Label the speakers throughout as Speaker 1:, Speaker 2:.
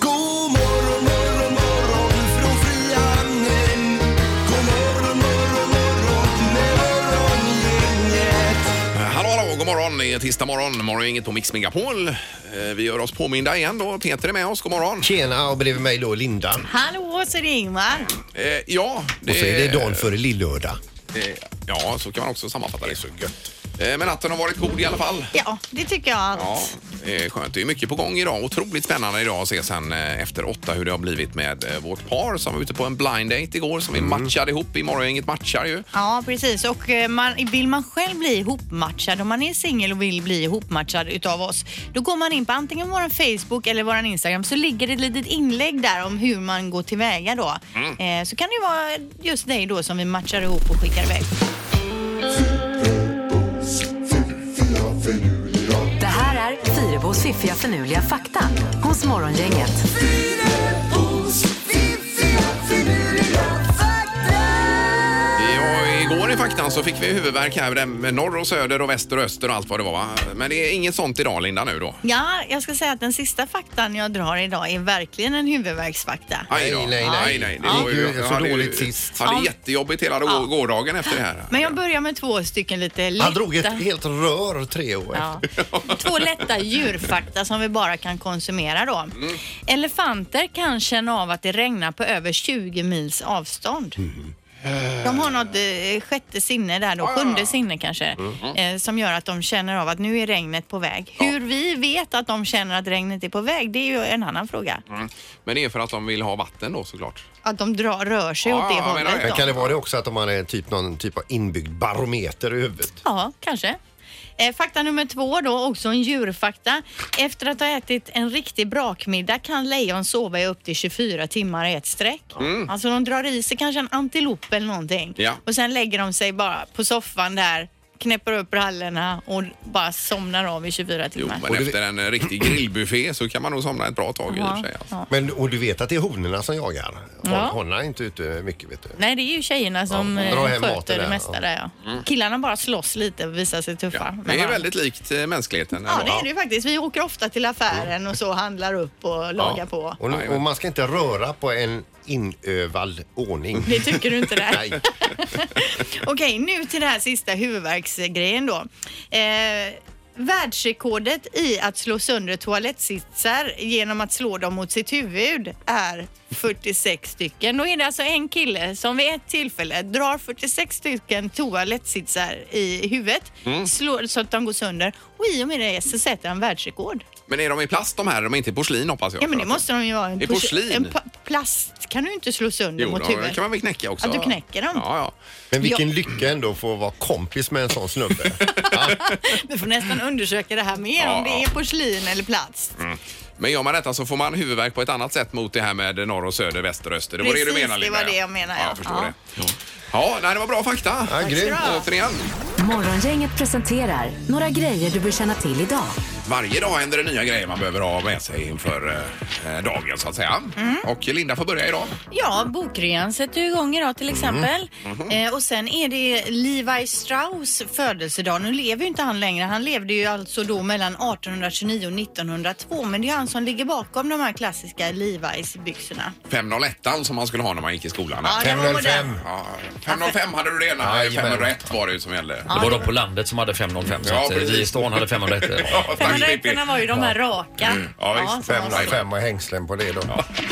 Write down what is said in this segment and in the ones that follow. Speaker 1: God morgon, morgon, morgon från Frihamnen. God morgon, morgon, morgon med Morgongänget.
Speaker 2: Eh, Hallå, hallå, god morgon. Det är tisdag morgon, morgon inget på Mix Megapol. Eh, Vi gör oss påminda igen då. Peter är med oss, god morgon.
Speaker 3: Tjena och bredvid mig då Linda.
Speaker 4: Hallå, så är det Ingmar.
Speaker 2: Eh, ja, det,
Speaker 3: Och så är det dagen före lillördag.
Speaker 2: eh, Ja, så kan man också sammanfatta det. så gött. Men natten har varit god i alla fall.
Speaker 4: Ja, det tycker jag allt.
Speaker 2: Ja, det är skönt. Det är mycket på gång idag. Otroligt spännande idag att se sen eh, efter åtta hur det har blivit med eh, vårt par som var ute på en blind date igår som vi
Speaker 3: Mm.
Speaker 2: matchade ihop. Imorgon inget matchar ju.
Speaker 4: Ja, precis. Och eh, man, vill man själv bli ihopmatchad, om man är singel och vill bli ihopmatchad utav oss, då går man in på antingen vår Facebook eller vår Instagram så ligger det ett litet inlägg där om hur man går tillväga då.
Speaker 3: Mm.
Speaker 4: Eh, så kan det ju vara just dig då som vi matchar ihop och skickar iväg.
Speaker 5: Det här är Fyrabos fiffiga förnuliga fakta hos Morgongänget.
Speaker 1: Fyrabos fiffiga finurliga fakta.
Speaker 2: Ja, igår i faktan så fick vi huvudvärk här där med norr och söder och väster och öster och allt vad det var. va? Men det är inget sånt idag Linda nu då.
Speaker 4: Ja, jag ska säga att den sista faktan jag drar idag är verkligen en huvudvärksfakta.
Speaker 2: Aj då.
Speaker 3: Nej, nej, nej.
Speaker 2: Aj, nej. Det
Speaker 3: Ja.
Speaker 2: var
Speaker 3: Det
Speaker 2: ju,
Speaker 3: gick ju så
Speaker 2: hade ju-
Speaker 3: dåligt sist.
Speaker 2: Hade
Speaker 4: Ja.
Speaker 2: jättejobbigt hela då- gårdagen efter det här.
Speaker 4: Men jag börjar med två stycken lite lätta.
Speaker 3: Han drog ett helt rör tre år efter.
Speaker 4: Ja. Två lätta djurfakta som vi bara kan konsumera då.
Speaker 2: Mm.
Speaker 4: Elefanter kan känna av att det regnar på över 20 mils avstånd. De har något eh, sjätte sinne där då,
Speaker 2: Ah.
Speaker 4: sjunde sinne kanske,
Speaker 2: Mm.
Speaker 4: eh, som gör att de känner av att nu är regnet på väg. Hur vi vet att de känner att regnet är på väg, det är ju en annan fråga.
Speaker 2: Mm. Men det är för att de vill ha vatten då såklart.
Speaker 4: Att de drar, rör sig
Speaker 2: Ja,
Speaker 4: åt det
Speaker 2: Ah, jag menar det.
Speaker 4: hållet
Speaker 3: Men
Speaker 4: då.
Speaker 3: kan det vara det också att de hade typ någon typ av inbyggd barometer i huvudet?
Speaker 4: Ja, kanske. Eh, Fakta nummer två då, också en djurfakta. Efter att ha ätit en riktig brakmiddag kan lejon sova i upp till 24 timmar i ett streck. Alltså de drar i sig kanske en antilop eller någonting
Speaker 2: Mm. Ja.
Speaker 4: och sen lägger de sig bara på soffan där, knäpper upp brallorna och bara somnar av i 24
Speaker 2: Jo,
Speaker 4: timmar.
Speaker 2: men efter en eh, riktig grillbuffé så kan man nog somna ett bra tag i och för sig. Alltså.
Speaker 3: Men, och du vet att det är honorna som jagar?
Speaker 4: Ja.
Speaker 3: Ja. Honorna är inte ute mycket vet du.
Speaker 4: Nej, det är ju tjejerna som
Speaker 3: dra
Speaker 4: eh,
Speaker 3: hem maten
Speaker 4: sköter det
Speaker 3: där,
Speaker 4: mesta
Speaker 3: ja.
Speaker 4: där ja. Killarna bara slåss lite och visar sig tuffa.
Speaker 2: Mm. Ja.
Speaker 4: med
Speaker 2: Det är
Speaker 4: varandra.
Speaker 2: väldigt likt eh, mänskligheten.
Speaker 4: Ja,
Speaker 2: ändå.
Speaker 4: det är det ju faktiskt. Vi åker ofta till affären
Speaker 2: Mm.
Speaker 4: och så handlar upp och lagar på.
Speaker 3: Och,
Speaker 2: Nej, men-
Speaker 3: och man ska inte röra på en inövad ordning.
Speaker 4: Det tycker du inte det?
Speaker 3: Nej.
Speaker 4: Okej, nu till den här sista huvudvärksgrejen då. Eh, världsrekordet i att slå sönder toalettsitsar genom att slå dem mot sitt huvud är 46 stycken. Då är det alltså en kille som vid ett tillfälle drar 46 stycken toalettsitsar i huvudet
Speaker 2: Mm.
Speaker 4: slår, så att de går sönder och i och med det så sätter han världsrekord.
Speaker 2: Men är de i plast de här? De är inte i porslin hoppas jag.
Speaker 4: Ja men det måste de ju vara. En,
Speaker 2: I
Speaker 4: pors-
Speaker 2: porslin?
Speaker 4: en pa- plast kan du inte slå sönder
Speaker 2: Jo,
Speaker 4: mot
Speaker 2: de
Speaker 4: huvudet.
Speaker 2: kan man väl knäcka också?
Speaker 4: Ja, du knäcker dem.
Speaker 2: Ja, ja.
Speaker 3: Men vilken lycka ändå att få vara kompis med en sån snubbe. Ja.
Speaker 4: Vi får nästan undersöka det här mer
Speaker 2: Ja,
Speaker 4: om det
Speaker 2: ja.
Speaker 4: är porslin eller plast.
Speaker 2: Men gör man detta så får man huvudvärk på ett annat sätt mot det här med norr och söder, väster och öster. Det var det du
Speaker 4: Precis,
Speaker 2: menade
Speaker 4: det
Speaker 2: Linda,
Speaker 4: var det
Speaker 2: ja.
Speaker 4: jag menade,
Speaker 2: Ja,
Speaker 4: ja.
Speaker 2: jag förstår
Speaker 4: Ja.
Speaker 2: det. Ja, ja nej, det var bra fakta.
Speaker 3: Ja, grymt.
Speaker 2: Återigen.
Speaker 5: Morgongänget presenterar några grejer du bör känna till idag.
Speaker 2: Varje dag händer det nya grejer man behöver ha med sig inför eh, eh, dagen så att säga.
Speaker 4: Mm.
Speaker 2: Och Linda får börja idag.
Speaker 4: Ja, bokrean sätter ju igång idag
Speaker 2: Mm.
Speaker 4: till exempel.
Speaker 2: Mm-hmm.
Speaker 4: Eh, och sen är det Levi Strauss födelsedag. Nu lever ju inte han längre. Han levde ju alltså då mellan 1829 och 1902. Men det är han som ligger bakom de här klassiska Levi's byxorna.
Speaker 2: 501 som man skulle ha när man gick i skolan.
Speaker 4: Ja, den var modern.
Speaker 3: 505.
Speaker 2: Ja, 505 hade du det ena. eh,
Speaker 3: Jajamän.
Speaker 2: 501 var det ju som gällde.
Speaker 6: Det var de på landet som hade 505 så
Speaker 2: Ja,
Speaker 6: att eh,
Speaker 2: precis.
Speaker 6: vi i stan hade 501.
Speaker 2: Ja, tack, Pippi.
Speaker 4: 501 var ju de här raka.
Speaker 2: Ja, visst,
Speaker 4: som man sa.
Speaker 3: 505 och hängslen på det då.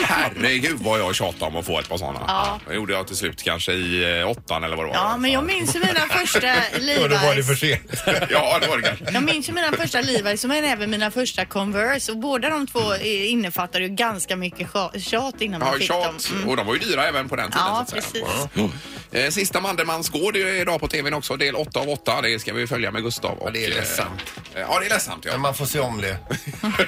Speaker 2: Herregud vad jag tjatade om att få ett par sådana. Det gjorde jag till slut kanske i eh, åttan eller vad det var.
Speaker 4: Ja, men jag minns ju mina första Levi's.
Speaker 3: Och då var det för sent.
Speaker 2: ja, det var det kanske.
Speaker 4: Jag minns ju mina första Levi's men även mina första Converse och båda de två eh, innefattar ju ganska mycket scha- tjat innan man
Speaker 2: Ja,
Speaker 4: fick dem.
Speaker 2: tjat.
Speaker 4: Mm.
Speaker 2: Och de var ju dyra även på den tiden.
Speaker 4: Ja,
Speaker 2: så att säga.
Speaker 4: precis.
Speaker 2: Ja. Eh, Sista Mandelmans gård är idag på tvn också. Del 8 av 8. Det ska vi följa med Gustav. Och,
Speaker 3: det är
Speaker 2: eh,
Speaker 3: ledsamt. Mm.
Speaker 2: eh, Ja, det är ledsamt.
Speaker 3: Men
Speaker 2: Ja.
Speaker 3: man får se om det.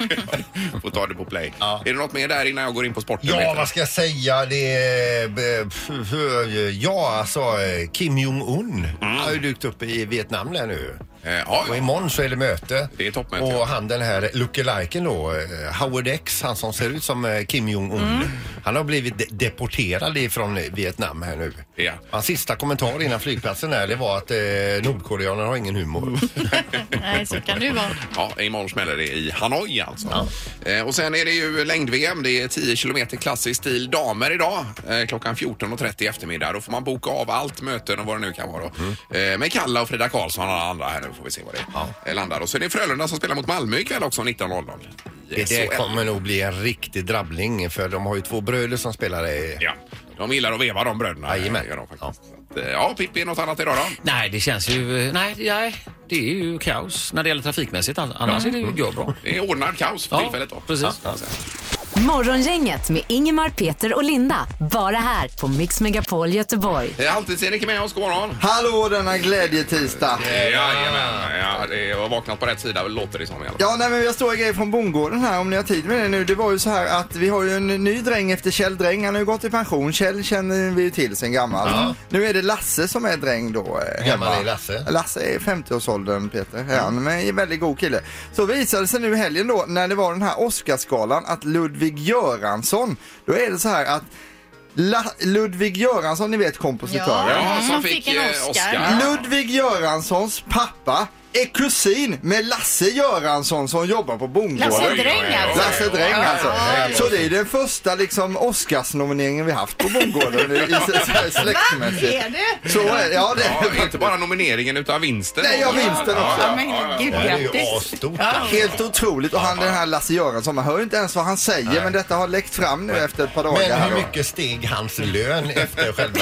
Speaker 2: Får ta det på play.
Speaker 3: Ja.
Speaker 2: Är det något mer där innan jag går in på sporten?
Speaker 3: Ja,
Speaker 2: Peter?
Speaker 3: vad ska jag säga? Det är... eh, f- f- Ja, alltså eh, Kim Jong-Un har ju dykt upp i Vietnam där nu.
Speaker 2: Mm. Eh, ja,
Speaker 3: Och
Speaker 2: ja.
Speaker 3: imorgon så är det möte.
Speaker 2: Det är toppmöte, ja.
Speaker 3: Och han den här lookaliken då, eh, Howard X, han som ser ut som eh, Kim Jong-Un.
Speaker 2: Mm.
Speaker 3: Han har blivit de- deporterad ifrån Vietnam här nu.
Speaker 2: Ja.
Speaker 3: Hans sista kommentar innan flygplatsen där, det var att eh, nordkoreaner har ingen
Speaker 2: Mm.
Speaker 3: humor.
Speaker 4: Mm. Nej, så kan det ju vara.
Speaker 2: Ja, imorgon smäller det i Hanoi alltså. Eh, och sen är det ju längd-VM. Det är 10 kilometer klassisk stil damer idag eh, klockan 14.30 i eftermiddag. Då får man boka av allt, möten och vad det nu kan vara. Då.
Speaker 3: Mm.
Speaker 2: Eh, med Kalla och Frida Karlsson och alla andra här nu får vi se vad det eh, landar. Och så är det Frölunda som spelar mot Malmö ikväll också 19.00. i
Speaker 3: Det
Speaker 2: SHL.
Speaker 3: där kommer nog bli en riktig drabbling för de har ju två bröder som spelar i...
Speaker 2: Ja, de gillar att veva de bröderna. eh,
Speaker 3: Jajamän.
Speaker 2: Gör de faktiskt. Så att, eh, Ja, Pippi, något annat idag då?
Speaker 6: Nej, det känns ju... Nej, nej, det är ju kaos när det gäller trafikmässigt. Annars är det ju går bra.
Speaker 2: Det är ordnad kaos för Mm. tillfället då.
Speaker 6: precis.
Speaker 2: Ja.
Speaker 5: Morgongänget med Ingemar, Peter och Linda. Bara här på Mix Megapol Göteborg.
Speaker 2: Eh, Halvtids-Erik är med oss, god morgon.
Speaker 1: Hallå denna glädjetisdag.
Speaker 2: Jajamän, ja, det är, jag har vaknat på rätt sida låter det som i alla fall.
Speaker 1: Ja, nej, men jag står grejer från bondgården här om ni har tid med det nu. Det var ju så här att vi har ju en ny dräng efter Kjell Dräng. Han har ju gått i pension. Kjell känner vi ju till sen gammalt. Nu är det Lasse som är dräng då. eh,
Speaker 3: gammal
Speaker 1: hemma.
Speaker 3: är Lasse? Mm.
Speaker 1: Lasse är i 50-årsåldern Peter. Är han, men är en väldigt god kille. Så visade det sig nu i helgen då när det var den här Oscarsgalan att Ludvig Göransson, då är det så här att La- Ludvig Göransson, ni vet kompositören.
Speaker 2: Ja, som
Speaker 4: han
Speaker 2: fick,
Speaker 4: fick en
Speaker 2: eh,
Speaker 4: Oscar.
Speaker 2: Oscar.
Speaker 1: Ludvig Göranssons pappa är kusin med Lasse Göransson som jobbar på
Speaker 4: Lasse
Speaker 1: bondgården.
Speaker 2: Oj, oj, oj,
Speaker 4: Dräng
Speaker 2: oj.
Speaker 4: alltså.
Speaker 1: Lasse Dräng alltså.
Speaker 3: ja.
Speaker 1: Så det är den första liksom Oscarsnomineringen vi haft på bondgården i, i, så här släktmässigt.
Speaker 4: Är det?
Speaker 1: Så är det, ja det är
Speaker 2: Ja, inte bara nomineringen utan vinsten.
Speaker 1: Nej, jag vinsten
Speaker 4: Ja,
Speaker 1: också.
Speaker 4: men gud,
Speaker 3: Det här är ju
Speaker 4: grattis.
Speaker 3: asstort.
Speaker 1: Helt otroligt och han den här Lasse Göransson, man hör ju inte ens vad han säger men detta har läckt fram nu efter ett par dagar.
Speaker 3: Men
Speaker 1: här
Speaker 3: hur
Speaker 1: då.
Speaker 3: mycket steg hans lön efter själva...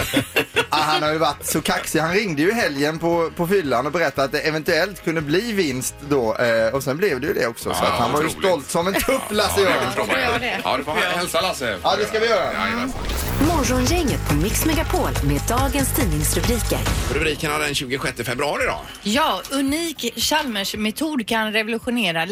Speaker 1: Ah, han har ju varit så kaxig. Han ringde ju i helgen på, på fyllan och berättade att det eventuellt kunde bli vinst då eh, och sen blev det ju det också. Så
Speaker 2: Ja,
Speaker 1: att han var ju
Speaker 2: otroligt.
Speaker 1: stolt som en tupp Lasse
Speaker 2: Ja,
Speaker 1: Göransson.
Speaker 2: det får
Speaker 4: Får jag
Speaker 2: man.
Speaker 4: det?
Speaker 2: Ja, du får hälsa Lasse.
Speaker 1: Ja, det ska vi göra.
Speaker 2: Jajamän.
Speaker 5: Morgongänget på Mix Megapol med dagens tidningsrubriker.
Speaker 2: Rubrikerna den 26 februari då.
Speaker 4: Ja, unik Chalmers-metod kan revolutionera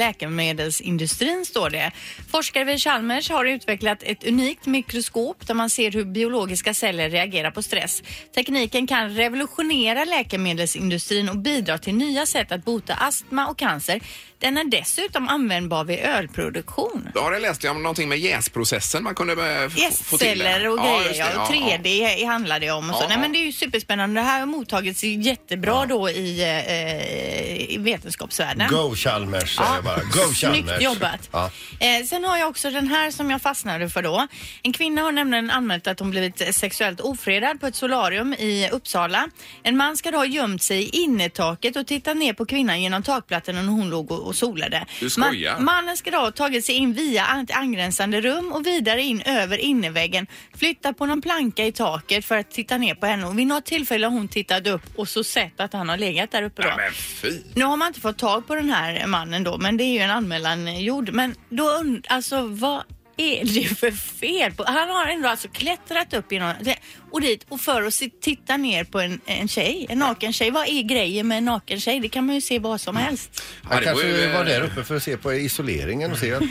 Speaker 4: läkemedelsindustrin, står det. Forskare vid Chalmers har utvecklat ett unikt mikroskop där man ser hur biologiska celler reagerar på stress. Tekniken kan revolutionera läkemedelsindustrin och bidra till nya sätt att bota astma och cancer. Den är dessutom användbar vid ölproduktion.
Speaker 2: Då har jag läst om någonting med jäsprocessen man kunde eh, f- få till. det.
Speaker 4: Gästceller och grejer,
Speaker 2: just det,
Speaker 4: ja, och 3D handlar det om. Och så.
Speaker 2: Ja,
Speaker 4: Nej,
Speaker 2: ja.
Speaker 4: men det är ju superspännande. Det här har mottagits jättebra då i, eh, i vetenskapsvärlden.
Speaker 3: Go Chalmers säger jag bara. Go Chalmers.
Speaker 4: Snyggt jobbat.
Speaker 3: Ja.
Speaker 4: Eh, sen har jag också den här som jag fastnade för då. En kvinna har nämligen anmält att hon blivit sexuellt ofredad på ett solarium i Uppsala. En man ska då ha gömt sig i innertaket och tittat ner på kvinnan genom takplattan när hon låg och och solade.
Speaker 2: Du skojar.
Speaker 4: Man, mannen ska då ha tagit sig in via an- angränsande rum och vidare in över innerväggen. Flyttat på någon planka i taket för att titta ner på henne och vid något tillfälle har hon tittat upp och så sett att han har legat där uppe då.
Speaker 2: Ja, men fy.
Speaker 4: Nu har man inte fått tag på den här mannen då, men det är ju en anmälan eh, gjord. Men då und- alltså vad är det för fel på... Han har ändå alltså klättrat upp genom det- och dit och för att se- titta ner på en, en tjej, en naken tjej. Vad är grejen med en naken tjej? Det kan man ju se vad
Speaker 2: Mm.
Speaker 4: som helst.
Speaker 2: Ja,
Speaker 3: Han
Speaker 2: det
Speaker 3: kanske
Speaker 2: var
Speaker 3: var,
Speaker 2: ju, eh,
Speaker 3: där uppe för att se på isoleringen och se att,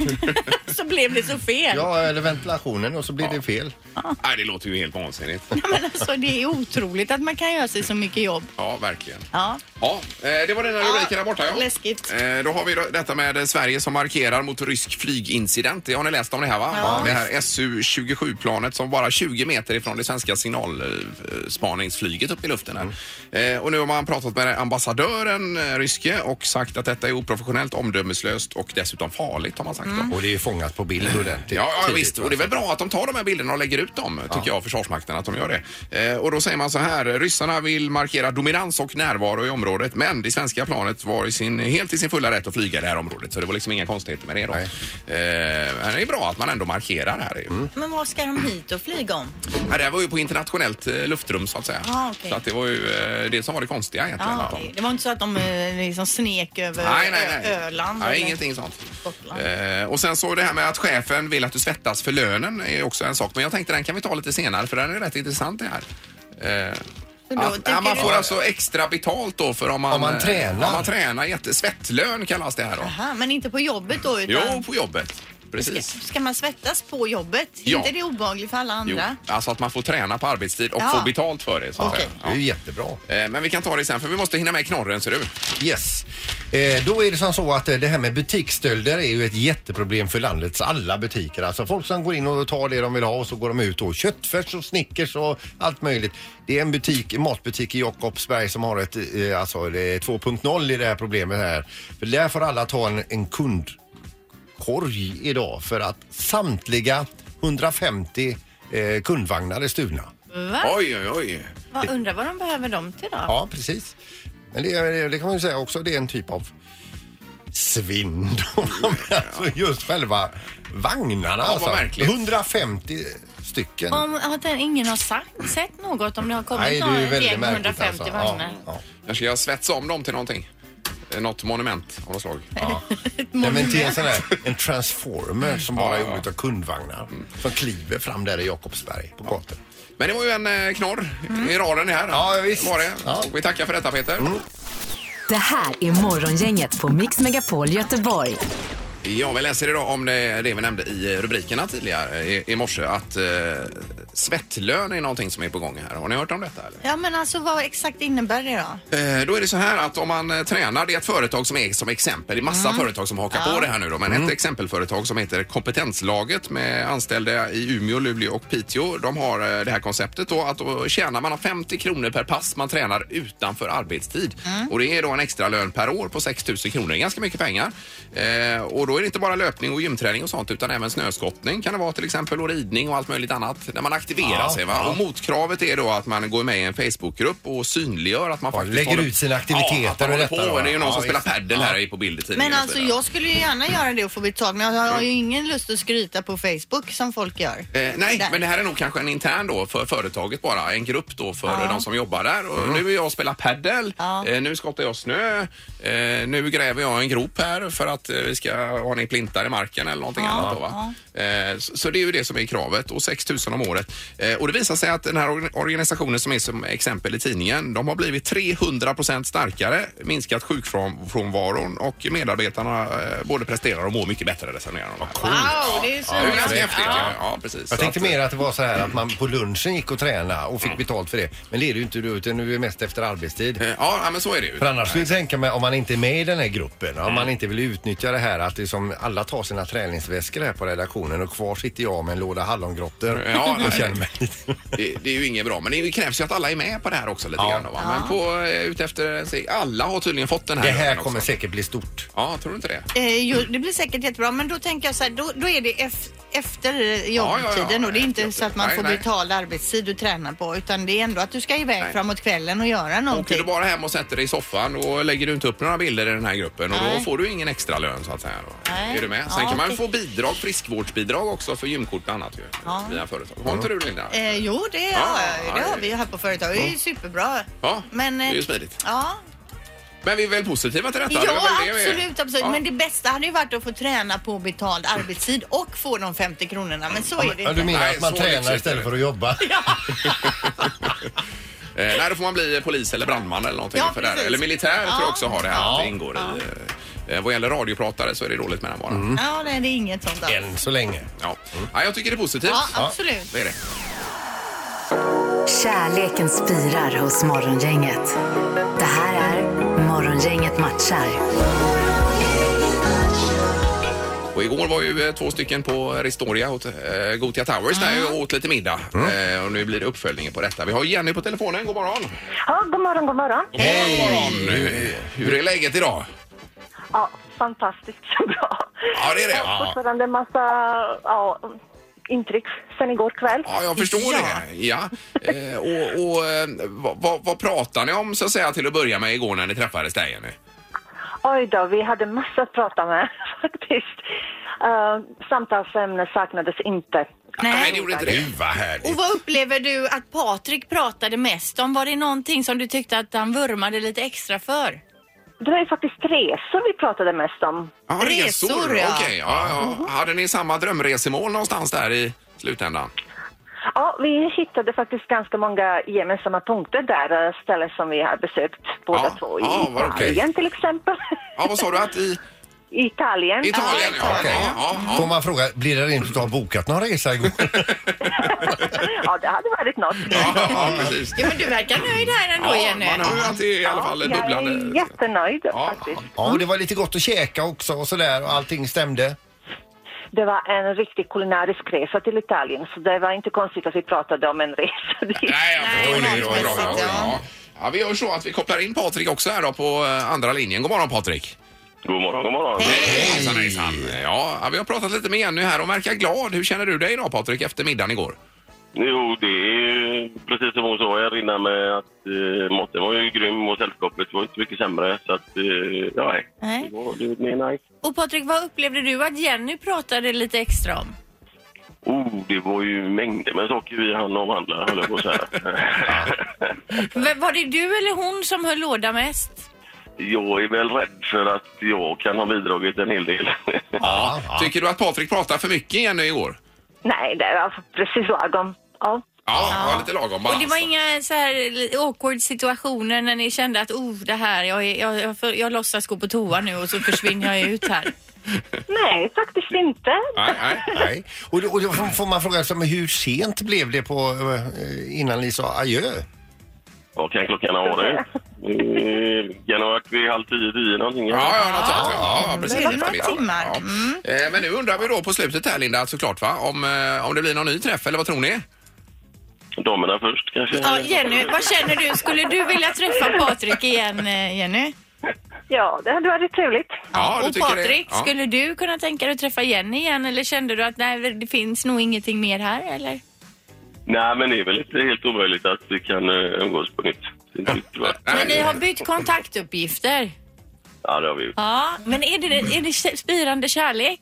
Speaker 4: Så blev det så fel.
Speaker 3: ja, eller ventilationen och så blir det fel.
Speaker 2: Nej, det låter ju helt vansinnigt.
Speaker 4: Ja, men alltså, det är otroligt att man kan göra sig så mycket jobb.
Speaker 2: Ja, verkligen.
Speaker 4: Ja.
Speaker 2: Ja, eh, det var dina rubriker där borta. Ja.
Speaker 4: läskigt.
Speaker 2: Eh, Då har vi då detta med eh, Sverige som markerar mot rysk flygincident. Det har ni läst om det här va?
Speaker 4: Ja.
Speaker 2: Det här SU-27-planet som bara 20 meter ifrån det svenska signalspaningsflyget upp i luften här. Eh, Och nu har man pratat med ambassadören, eh, ryske, och sagt att detta är oprofessionellt, omdömeslöst och dessutom farligt har man sagt. Då.
Speaker 3: Och det är ju fångat på bild ordentligt.
Speaker 2: Ja, ja
Speaker 3: tidigt,
Speaker 2: visst.
Speaker 3: va?
Speaker 2: Och det är väl bra att de tar de här bilderna och lägger ut dem, tycker jag, Försvarsmakten, att de gör det. Eh, och då säger man så här, ryssarna vill markera dominans och närvaro i området, men det svenska planet var i sin, helt i sin fulla rätt att flyga i det här området, så det var liksom inga konstigheter med det då. Eh, men det är bra att man ändå markerar här. Mm.
Speaker 4: Men vad ska de hit och flyga om?
Speaker 2: Det här var ju på internationellt eh, luftrum, så att säga.
Speaker 4: Ah, okej.
Speaker 2: Så att det var ju eh, det som var det konstiga egentligen.
Speaker 4: Ja,
Speaker 2: att de-
Speaker 4: okej. Det var inte så att de eh, liksom snek över
Speaker 2: Nej, nej, nej.
Speaker 4: Ö- Öland?
Speaker 2: Nej,
Speaker 4: eller?
Speaker 2: ingenting sånt.
Speaker 4: Gotland.
Speaker 2: Eh, och sen så det här med att chefen vill att du svettas för lönen är också en sak. Men jag tänkte den kan vi ta lite senare för den är rätt intressant det här. Eh,
Speaker 4: då
Speaker 2: att,
Speaker 4: tycker
Speaker 2: ja, man
Speaker 4: du-
Speaker 2: får alltså extra betalt då för om man,
Speaker 3: Om man
Speaker 2: eh,
Speaker 3: tränar.
Speaker 2: Om man tränar jätte, svettlön kallas det här då.
Speaker 4: Aha, men inte på jobbet då utan...
Speaker 2: Jo, på jobbet. precis.
Speaker 4: Ska man svettas på jobbet?
Speaker 2: Ja.
Speaker 4: inte det obehagligt för alla
Speaker 2: Jo,
Speaker 4: andra?
Speaker 2: alltså att man får träna på arbetstid och
Speaker 4: Ja.
Speaker 2: få betalt för det. Så att
Speaker 4: Okej.
Speaker 2: säga.
Speaker 3: Det är ju jättebra.
Speaker 2: ja. Eh, Men vi kan ta det sen för vi måste hinna med knorren ser du.
Speaker 3: Yes. Eh, då är det som så att eh, det här med butiksstölder är ju ett jätteproblem för landets alla butiker. Alltså folk som går in och tar det de vill ha och så går de ut och köttfärs och Snickers och allt möjligt. Det är en butik, en matbutik i Jakobsberg som har ett eh, alltså, det är 2.0 i det här problemet här. För där får alla ta en, en kund korg idag för att samtliga 150 eh, kundvagnar är stulna.
Speaker 4: Va?
Speaker 2: Oj, oj, oj.
Speaker 4: Vad undrar vad de behöver dem till då?
Speaker 3: Ja, precis. Men det, det kan man ju säga också, det är en typ av svinn. då. alltså just själva vagnarna.
Speaker 2: vad
Speaker 3: alltså.
Speaker 2: märkligt.
Speaker 3: 150 stycken.
Speaker 4: Om att den- ingen har sagt, sett något om det har kommit
Speaker 3: Nej, det
Speaker 4: några
Speaker 3: är ju väldigt
Speaker 4: gäng
Speaker 3: märkligt
Speaker 4: 150
Speaker 3: alltså.
Speaker 4: vagnar.
Speaker 3: Ja,
Speaker 2: Jag ska svetsa om dem till någonting. Eh, Något monument av något slag.
Speaker 3: ja. Nej,
Speaker 4: Mm.
Speaker 3: men till en sån här, en transformer som bara är gjord utav kundvagnar. Som kliver fram där i Jakobsberg på gatan.
Speaker 2: Men det var ju en eh, knorr i raden här.
Speaker 3: Mm. Ja, visst.
Speaker 2: Var det.
Speaker 3: Ja. Mm.
Speaker 2: Och vi tackar för detta Peter.
Speaker 5: Det här är Morgongänget på Mix Megapol Göteborg.
Speaker 2: Ja, vi läser idag om det, det vi nämnde i rubrikerna tidigare i, i morse att eh, svettlön är någonting som är på gång här. Har ni hört om detta? Eller?
Speaker 4: Ja, men alltså vad exakt innebär det då?
Speaker 2: Eh, Då är det så här att om man eh, tränar, det är ett företag som är som exempel, det är massa företag som hakar på det här nu då, men ett exempelföretag som heter Kompetenslaget med anställda i Umeå, Luleå och Piteå. De har eh, det här konceptet då att då tjänar man 50 kronor per pass man tränar utanför arbetstid och det är då en extra lön per år på 6 000 kronor, ganska mycket pengar. Eh, Och då är det inte bara löpning och gymträning och sånt utan även snöskottning kan det vara till exempel och ridning och allt möjligt annat när man aktiverar sig. Va? Och motkravet är då att man går med i en Facebookgrupp och synliggör att man
Speaker 3: Ja,
Speaker 2: faktiskt
Speaker 3: lägger
Speaker 2: håller-
Speaker 3: ut sina
Speaker 2: Ja,
Speaker 3: aktiviteter
Speaker 2: att man
Speaker 3: och
Speaker 2: håller
Speaker 3: detta
Speaker 2: på.
Speaker 3: då.
Speaker 2: Det är ju någon
Speaker 3: Ja,
Speaker 2: som spelar
Speaker 3: visst.
Speaker 2: padel här i på bild i tidningen
Speaker 4: Men
Speaker 2: och så
Speaker 4: alltså
Speaker 2: vidare.
Speaker 4: jag skulle ju gärna göra det och få betalt men jag har ju ingen lust att skryta på Facebook som folk gör.
Speaker 2: Eh, nej,
Speaker 4: Där.
Speaker 2: men det här är nog kanske en intern då för företaget bara. En grupp då för de som jobbar där. Och
Speaker 3: Mm.
Speaker 2: Nu är jag och spelar padel.
Speaker 4: Ja.
Speaker 2: Eh, nu skottar jag snö. Eh, nu gräver jag en grop här för att eh, vi ska ha ner plintar i marken eller någonting annat. Då, va? Eh, så, så det är ju det som är kravet och 6 000 om året. Eh, och det visar sig att den här organ- organisationen som är som exempel i tidningen, de har blivit 300 procent starkare, minskat sjukfrånvaron och medarbetarna eh, både presterar och mår mycket bättre resonerar de. här.
Speaker 4: Wow, det är ju så
Speaker 2: Det är ju ganska
Speaker 4: roligt.
Speaker 2: häftigt. Ja, ja precis.
Speaker 3: Jag
Speaker 2: Så
Speaker 3: tänkte
Speaker 2: att,
Speaker 3: mer att det var så här att man på lunchen gick och tränade och fick betalt för det. Men det är det ju inte du, utan nu är det mest efter arbetstid.
Speaker 2: eh, Ja, ja, men så är det ju.
Speaker 3: För annars skulle jag tänka mig om man inte är med i den här gruppen, om man inte vill utnyttja det här att liksom alla tar sina träningsväskor här på redaktionen och kvar sitter jag med en låda hallongrottor
Speaker 2: Ja, nej.
Speaker 3: och känner mig lite...
Speaker 2: Det, det är ju inget bra, men det krävs ju att alla är med på det här också lite
Speaker 3: Ja.
Speaker 2: grann. då, Va? Men på, eh, utefter, se, alla har tydligen fått den här.
Speaker 3: Det här
Speaker 2: lönen
Speaker 3: kommer
Speaker 2: också.
Speaker 3: säkert bli stort.
Speaker 2: Ja, tror du inte det?
Speaker 4: Eh, jo, det blir säkert jättebra men då tänker jag så här, då, då är det ef- efter
Speaker 2: ja,
Speaker 4: jobbtiden
Speaker 2: ja,
Speaker 4: och det är inte
Speaker 2: efter
Speaker 4: så att man
Speaker 2: jobbtiden.
Speaker 4: får
Speaker 2: Nej, nej.
Speaker 4: betald arbetstid du tränar på utan det är ändå att du ska iväg
Speaker 2: Nej.
Speaker 4: framåt kvällen och göra
Speaker 2: Åker
Speaker 4: någonting.
Speaker 2: du bara hem och sätter dig i soffan och lägger du inte upp några bilder i den här gruppen och då
Speaker 4: Nej.
Speaker 2: får du ingen extra lön så att säga. Då.
Speaker 4: Nej.
Speaker 2: Är du med? Sen
Speaker 4: Ja,
Speaker 2: kan man
Speaker 4: det-
Speaker 2: få bidrag, friskvårdsbidrag också för gymkort och annat ju. Via företag. Har inte du Linda?
Speaker 4: Eh, jo, det,
Speaker 2: Ja,
Speaker 4: har jag. det
Speaker 2: ja,
Speaker 4: har
Speaker 2: det-
Speaker 4: vi ju här på företaget. Det är ju superbra.
Speaker 2: Ja,
Speaker 4: men,
Speaker 2: det är ju
Speaker 4: eh,
Speaker 2: smidigt.
Speaker 4: Ja,
Speaker 2: Men vi är väl positiva till detta? Det är
Speaker 4: ja
Speaker 2: väl det vi är.
Speaker 4: absolut. absolut.
Speaker 2: Ja.
Speaker 4: Men det bästa hade ju varit att få träna på betald arbetstid och få de 50 kronorna. Men så är det
Speaker 3: Ja, du
Speaker 4: inte.
Speaker 3: menar
Speaker 2: Nej,
Speaker 3: att man
Speaker 2: så
Speaker 3: tränar
Speaker 2: lyxigt är det.
Speaker 3: istället för att jobba?
Speaker 2: Eh, nej, då får man bli polis eller brandman eller någonting.
Speaker 4: Ja,
Speaker 2: för det här.
Speaker 4: precis.
Speaker 2: Eller militär tror jag också har det här.
Speaker 4: Ja.
Speaker 2: Att det ingår i. Eh, vad gäller radiopratare så är det dåligt med den varan.
Speaker 4: Ja, nej, det är inget sånt alls.
Speaker 3: Än så länge.
Speaker 2: Ja. ja, jag tycker det är positivt.
Speaker 4: Ja, absolut.
Speaker 2: Det är det.
Speaker 5: Kärleken spirar hos Morgongänget. Det här är Morgongänget matchar.
Speaker 2: Och igår var ju eh, två stycken på Ristoria, hot- eh, Gotia Towers, där
Speaker 4: Mm.
Speaker 2: jag åt lite middag. Eh, och nu blir det uppföljningen på detta. Vi har Jenny på telefonen. God morgon!
Speaker 7: Ja, god morgon, god morgon.
Speaker 6: Mm.
Speaker 2: Hej! God morgon. Hur- Hur är läget idag?
Speaker 7: Ja, fantastiskt bra.
Speaker 2: Ja, det är det.
Speaker 7: Ja,
Speaker 2: Ja,
Speaker 7: Fortfarande en massa ja, intryck sen igår kväll.
Speaker 2: ja jag förstår
Speaker 4: Ja.
Speaker 2: det. Ja. Eh, och och eh, vad, vad, vad pratade ni om så att säga till att börja med igår när ni träffades där Jenny?
Speaker 7: Oj då, vi hade massa att prata med faktiskt. Uh, samtalsämne saknades inte.
Speaker 2: Nej, det gjorde inte det.
Speaker 3: Gud vad härligt.
Speaker 4: Och vad upplever du att Patrik pratade mest om? Var det någonting som du tyckte att han vurmade lite extra för?
Speaker 7: Det var ju faktiskt resor vi pratade mest om.
Speaker 2: Ja,
Speaker 4: Resor,
Speaker 2: ja.
Speaker 4: ja.
Speaker 2: Okej, ja, ja. Hade ni samma drömresemål någonstans där i slutändan?
Speaker 7: Ja, vi hittade faktiskt ganska många gemensamma punkter där, eh, ställen som vi har besökt båda
Speaker 2: Ja,
Speaker 7: två i
Speaker 2: ja, vad roligt.
Speaker 7: Italien till exempel.
Speaker 2: Ja, vad sa du att i...
Speaker 5: Italien.
Speaker 2: Italien, ja.
Speaker 3: Okej.
Speaker 2: ja, ja,
Speaker 3: Får
Speaker 2: ja.
Speaker 3: man fråga, blir det rent utav bokat någon resa igår?
Speaker 5: ja, det hade varit något.
Speaker 2: Ja, ja, precis.
Speaker 8: Ja, men du verkar nöjd här ändå,
Speaker 2: Ja,
Speaker 8: Jenny.
Speaker 2: man hör ju att det är i alla fall
Speaker 5: jag är
Speaker 2: bubblande.
Speaker 5: jättenöjd
Speaker 2: Ja.
Speaker 5: faktiskt.
Speaker 3: Ja, och det var lite gott att käka också och sådär och allting stämde.
Speaker 5: Det var en riktig kulinarisk resa till Italien så det var inte konstigt att vi pratade om en resa dit.
Speaker 2: Nej, jag
Speaker 8: Nej,
Speaker 2: förstår det. det. var
Speaker 8: matmässigt,
Speaker 2: Bra, bra, bra.
Speaker 8: ja.
Speaker 2: Ja. Ja, vi gör så att vi kopplar in Patrik också här då på eh, andra linjen. God morgon Patrik!
Speaker 9: God morgon, god morgon.
Speaker 2: Hej! Hejsan, hejsan. Ja, ja, vi har pratat lite med Jenny här. Hon verkar glad. Hur känner du dig idag Patrik efter middagen igår?
Speaker 9: Jo, det är precis som hon sa här innan med att eh, maten var ju grym och sällskapet var inte mycket sämre. Så att, eh, ja, nej.
Speaker 4: Nej.
Speaker 9: Det var, det, nej, nej.
Speaker 4: Och Patrik, vad upplevde du att Jenny pratade lite extra om?
Speaker 9: Oh, det var ju mängder med saker vi hann avhandla, höll jag på att säga.
Speaker 4: V- var det du eller hon som höll låda mest?
Speaker 9: jag är väl rädd för att jag kan ha bidragit en hel del.
Speaker 3: Ja.
Speaker 2: Tycker du att Patrik pratar för mycket Jenny igår?
Speaker 5: Nej, det var precis lagom. Ja.
Speaker 2: Ja, det var lite lagom alltså.
Speaker 4: Och det var
Speaker 2: balans.
Speaker 4: inga så här awkward situationer när ni kände att oh, det här, jag, är- jag, jag, för- jag låtsas gå på toa nu och så försvinner jag ut här.
Speaker 5: Nej, faktiskt inte.
Speaker 2: Nej, nej.
Speaker 3: Nej. Och, då- och då får- får man fråga, sig, men hur sent blev det på, eh, innan ni sa adjö?
Speaker 9: Vad kan klockan ha varit? Eh, Kan ha varit vid halv tio, tio någonting.
Speaker 2: Ja, ja, något sånt. Ja, ja, precis.
Speaker 8: det är några
Speaker 2: Eftermiddag.
Speaker 8: timmar. Mm.
Speaker 2: Ja. Eh, Men nu undrar vi då på slutet här Linda såklart va, om, eh, om det blir någon ny träff eller vad tror ni?
Speaker 9: Damerna först kanske?
Speaker 4: Ja, Jenny, vad känner du? Skulle du vilja träffa Patrik igen, eh, Jenny?
Speaker 5: Ja, det hade varit trevligt.
Speaker 2: Ja, du
Speaker 4: och
Speaker 2: tycker det-
Speaker 4: Patrik,
Speaker 2: ja.
Speaker 4: skulle du kunna tänka dig att träffa Jenny igen eller kände du att nej, det finns nog ingenting mer här eller?
Speaker 9: Nej, men det är väl inte helt omöjligt att vi kan eh, umgås på nytt. Det är inte riktigt, va?
Speaker 4: Men ni har bytt kontaktuppgifter.
Speaker 9: Ja, det har vi gjort.
Speaker 4: Ja, men är det, är det kä- spirande kärlek?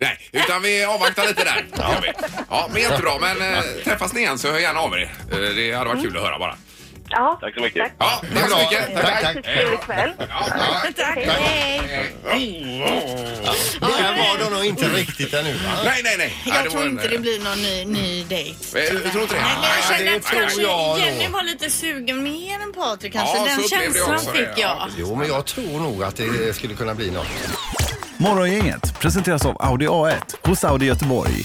Speaker 2: Nej, utan vi avvaktar lite där. Det gör vi. Ja, men jättebra. Men eh, träffas ni igen så hör gärna av er. Eh, det hade varit kul att höra bara.
Speaker 5: Ja.
Speaker 9: Tack så mycket.
Speaker 2: Ja, tack så mycket. Tack, tack.
Speaker 5: Trevlig kväll.
Speaker 2: Ja, ja.
Speaker 4: Hej!
Speaker 3: Det här var de nog inte riktigt ännu va?
Speaker 2: Nej, nej, nej. Nej,
Speaker 8: Jag
Speaker 2: det
Speaker 8: tror
Speaker 2: var en,
Speaker 8: inte det blir någon ny, ny dejt.
Speaker 2: Eh, du tror inte det?
Speaker 8: Nej, men jag
Speaker 2: Nej,
Speaker 8: känner
Speaker 2: det
Speaker 8: att
Speaker 2: tror
Speaker 8: kanske
Speaker 3: jag då.
Speaker 8: Jenny var lite sugen mer än Patrik kanske.
Speaker 2: Ja, så
Speaker 8: Den
Speaker 2: upplevde jag
Speaker 8: känslan
Speaker 2: också det,
Speaker 8: fick jag.
Speaker 2: ja.
Speaker 3: Jo, men jag tror nog att det skulle kunna bli något.
Speaker 10: Morgongänget presenteras av Audi A1 hos Audi Göteborg.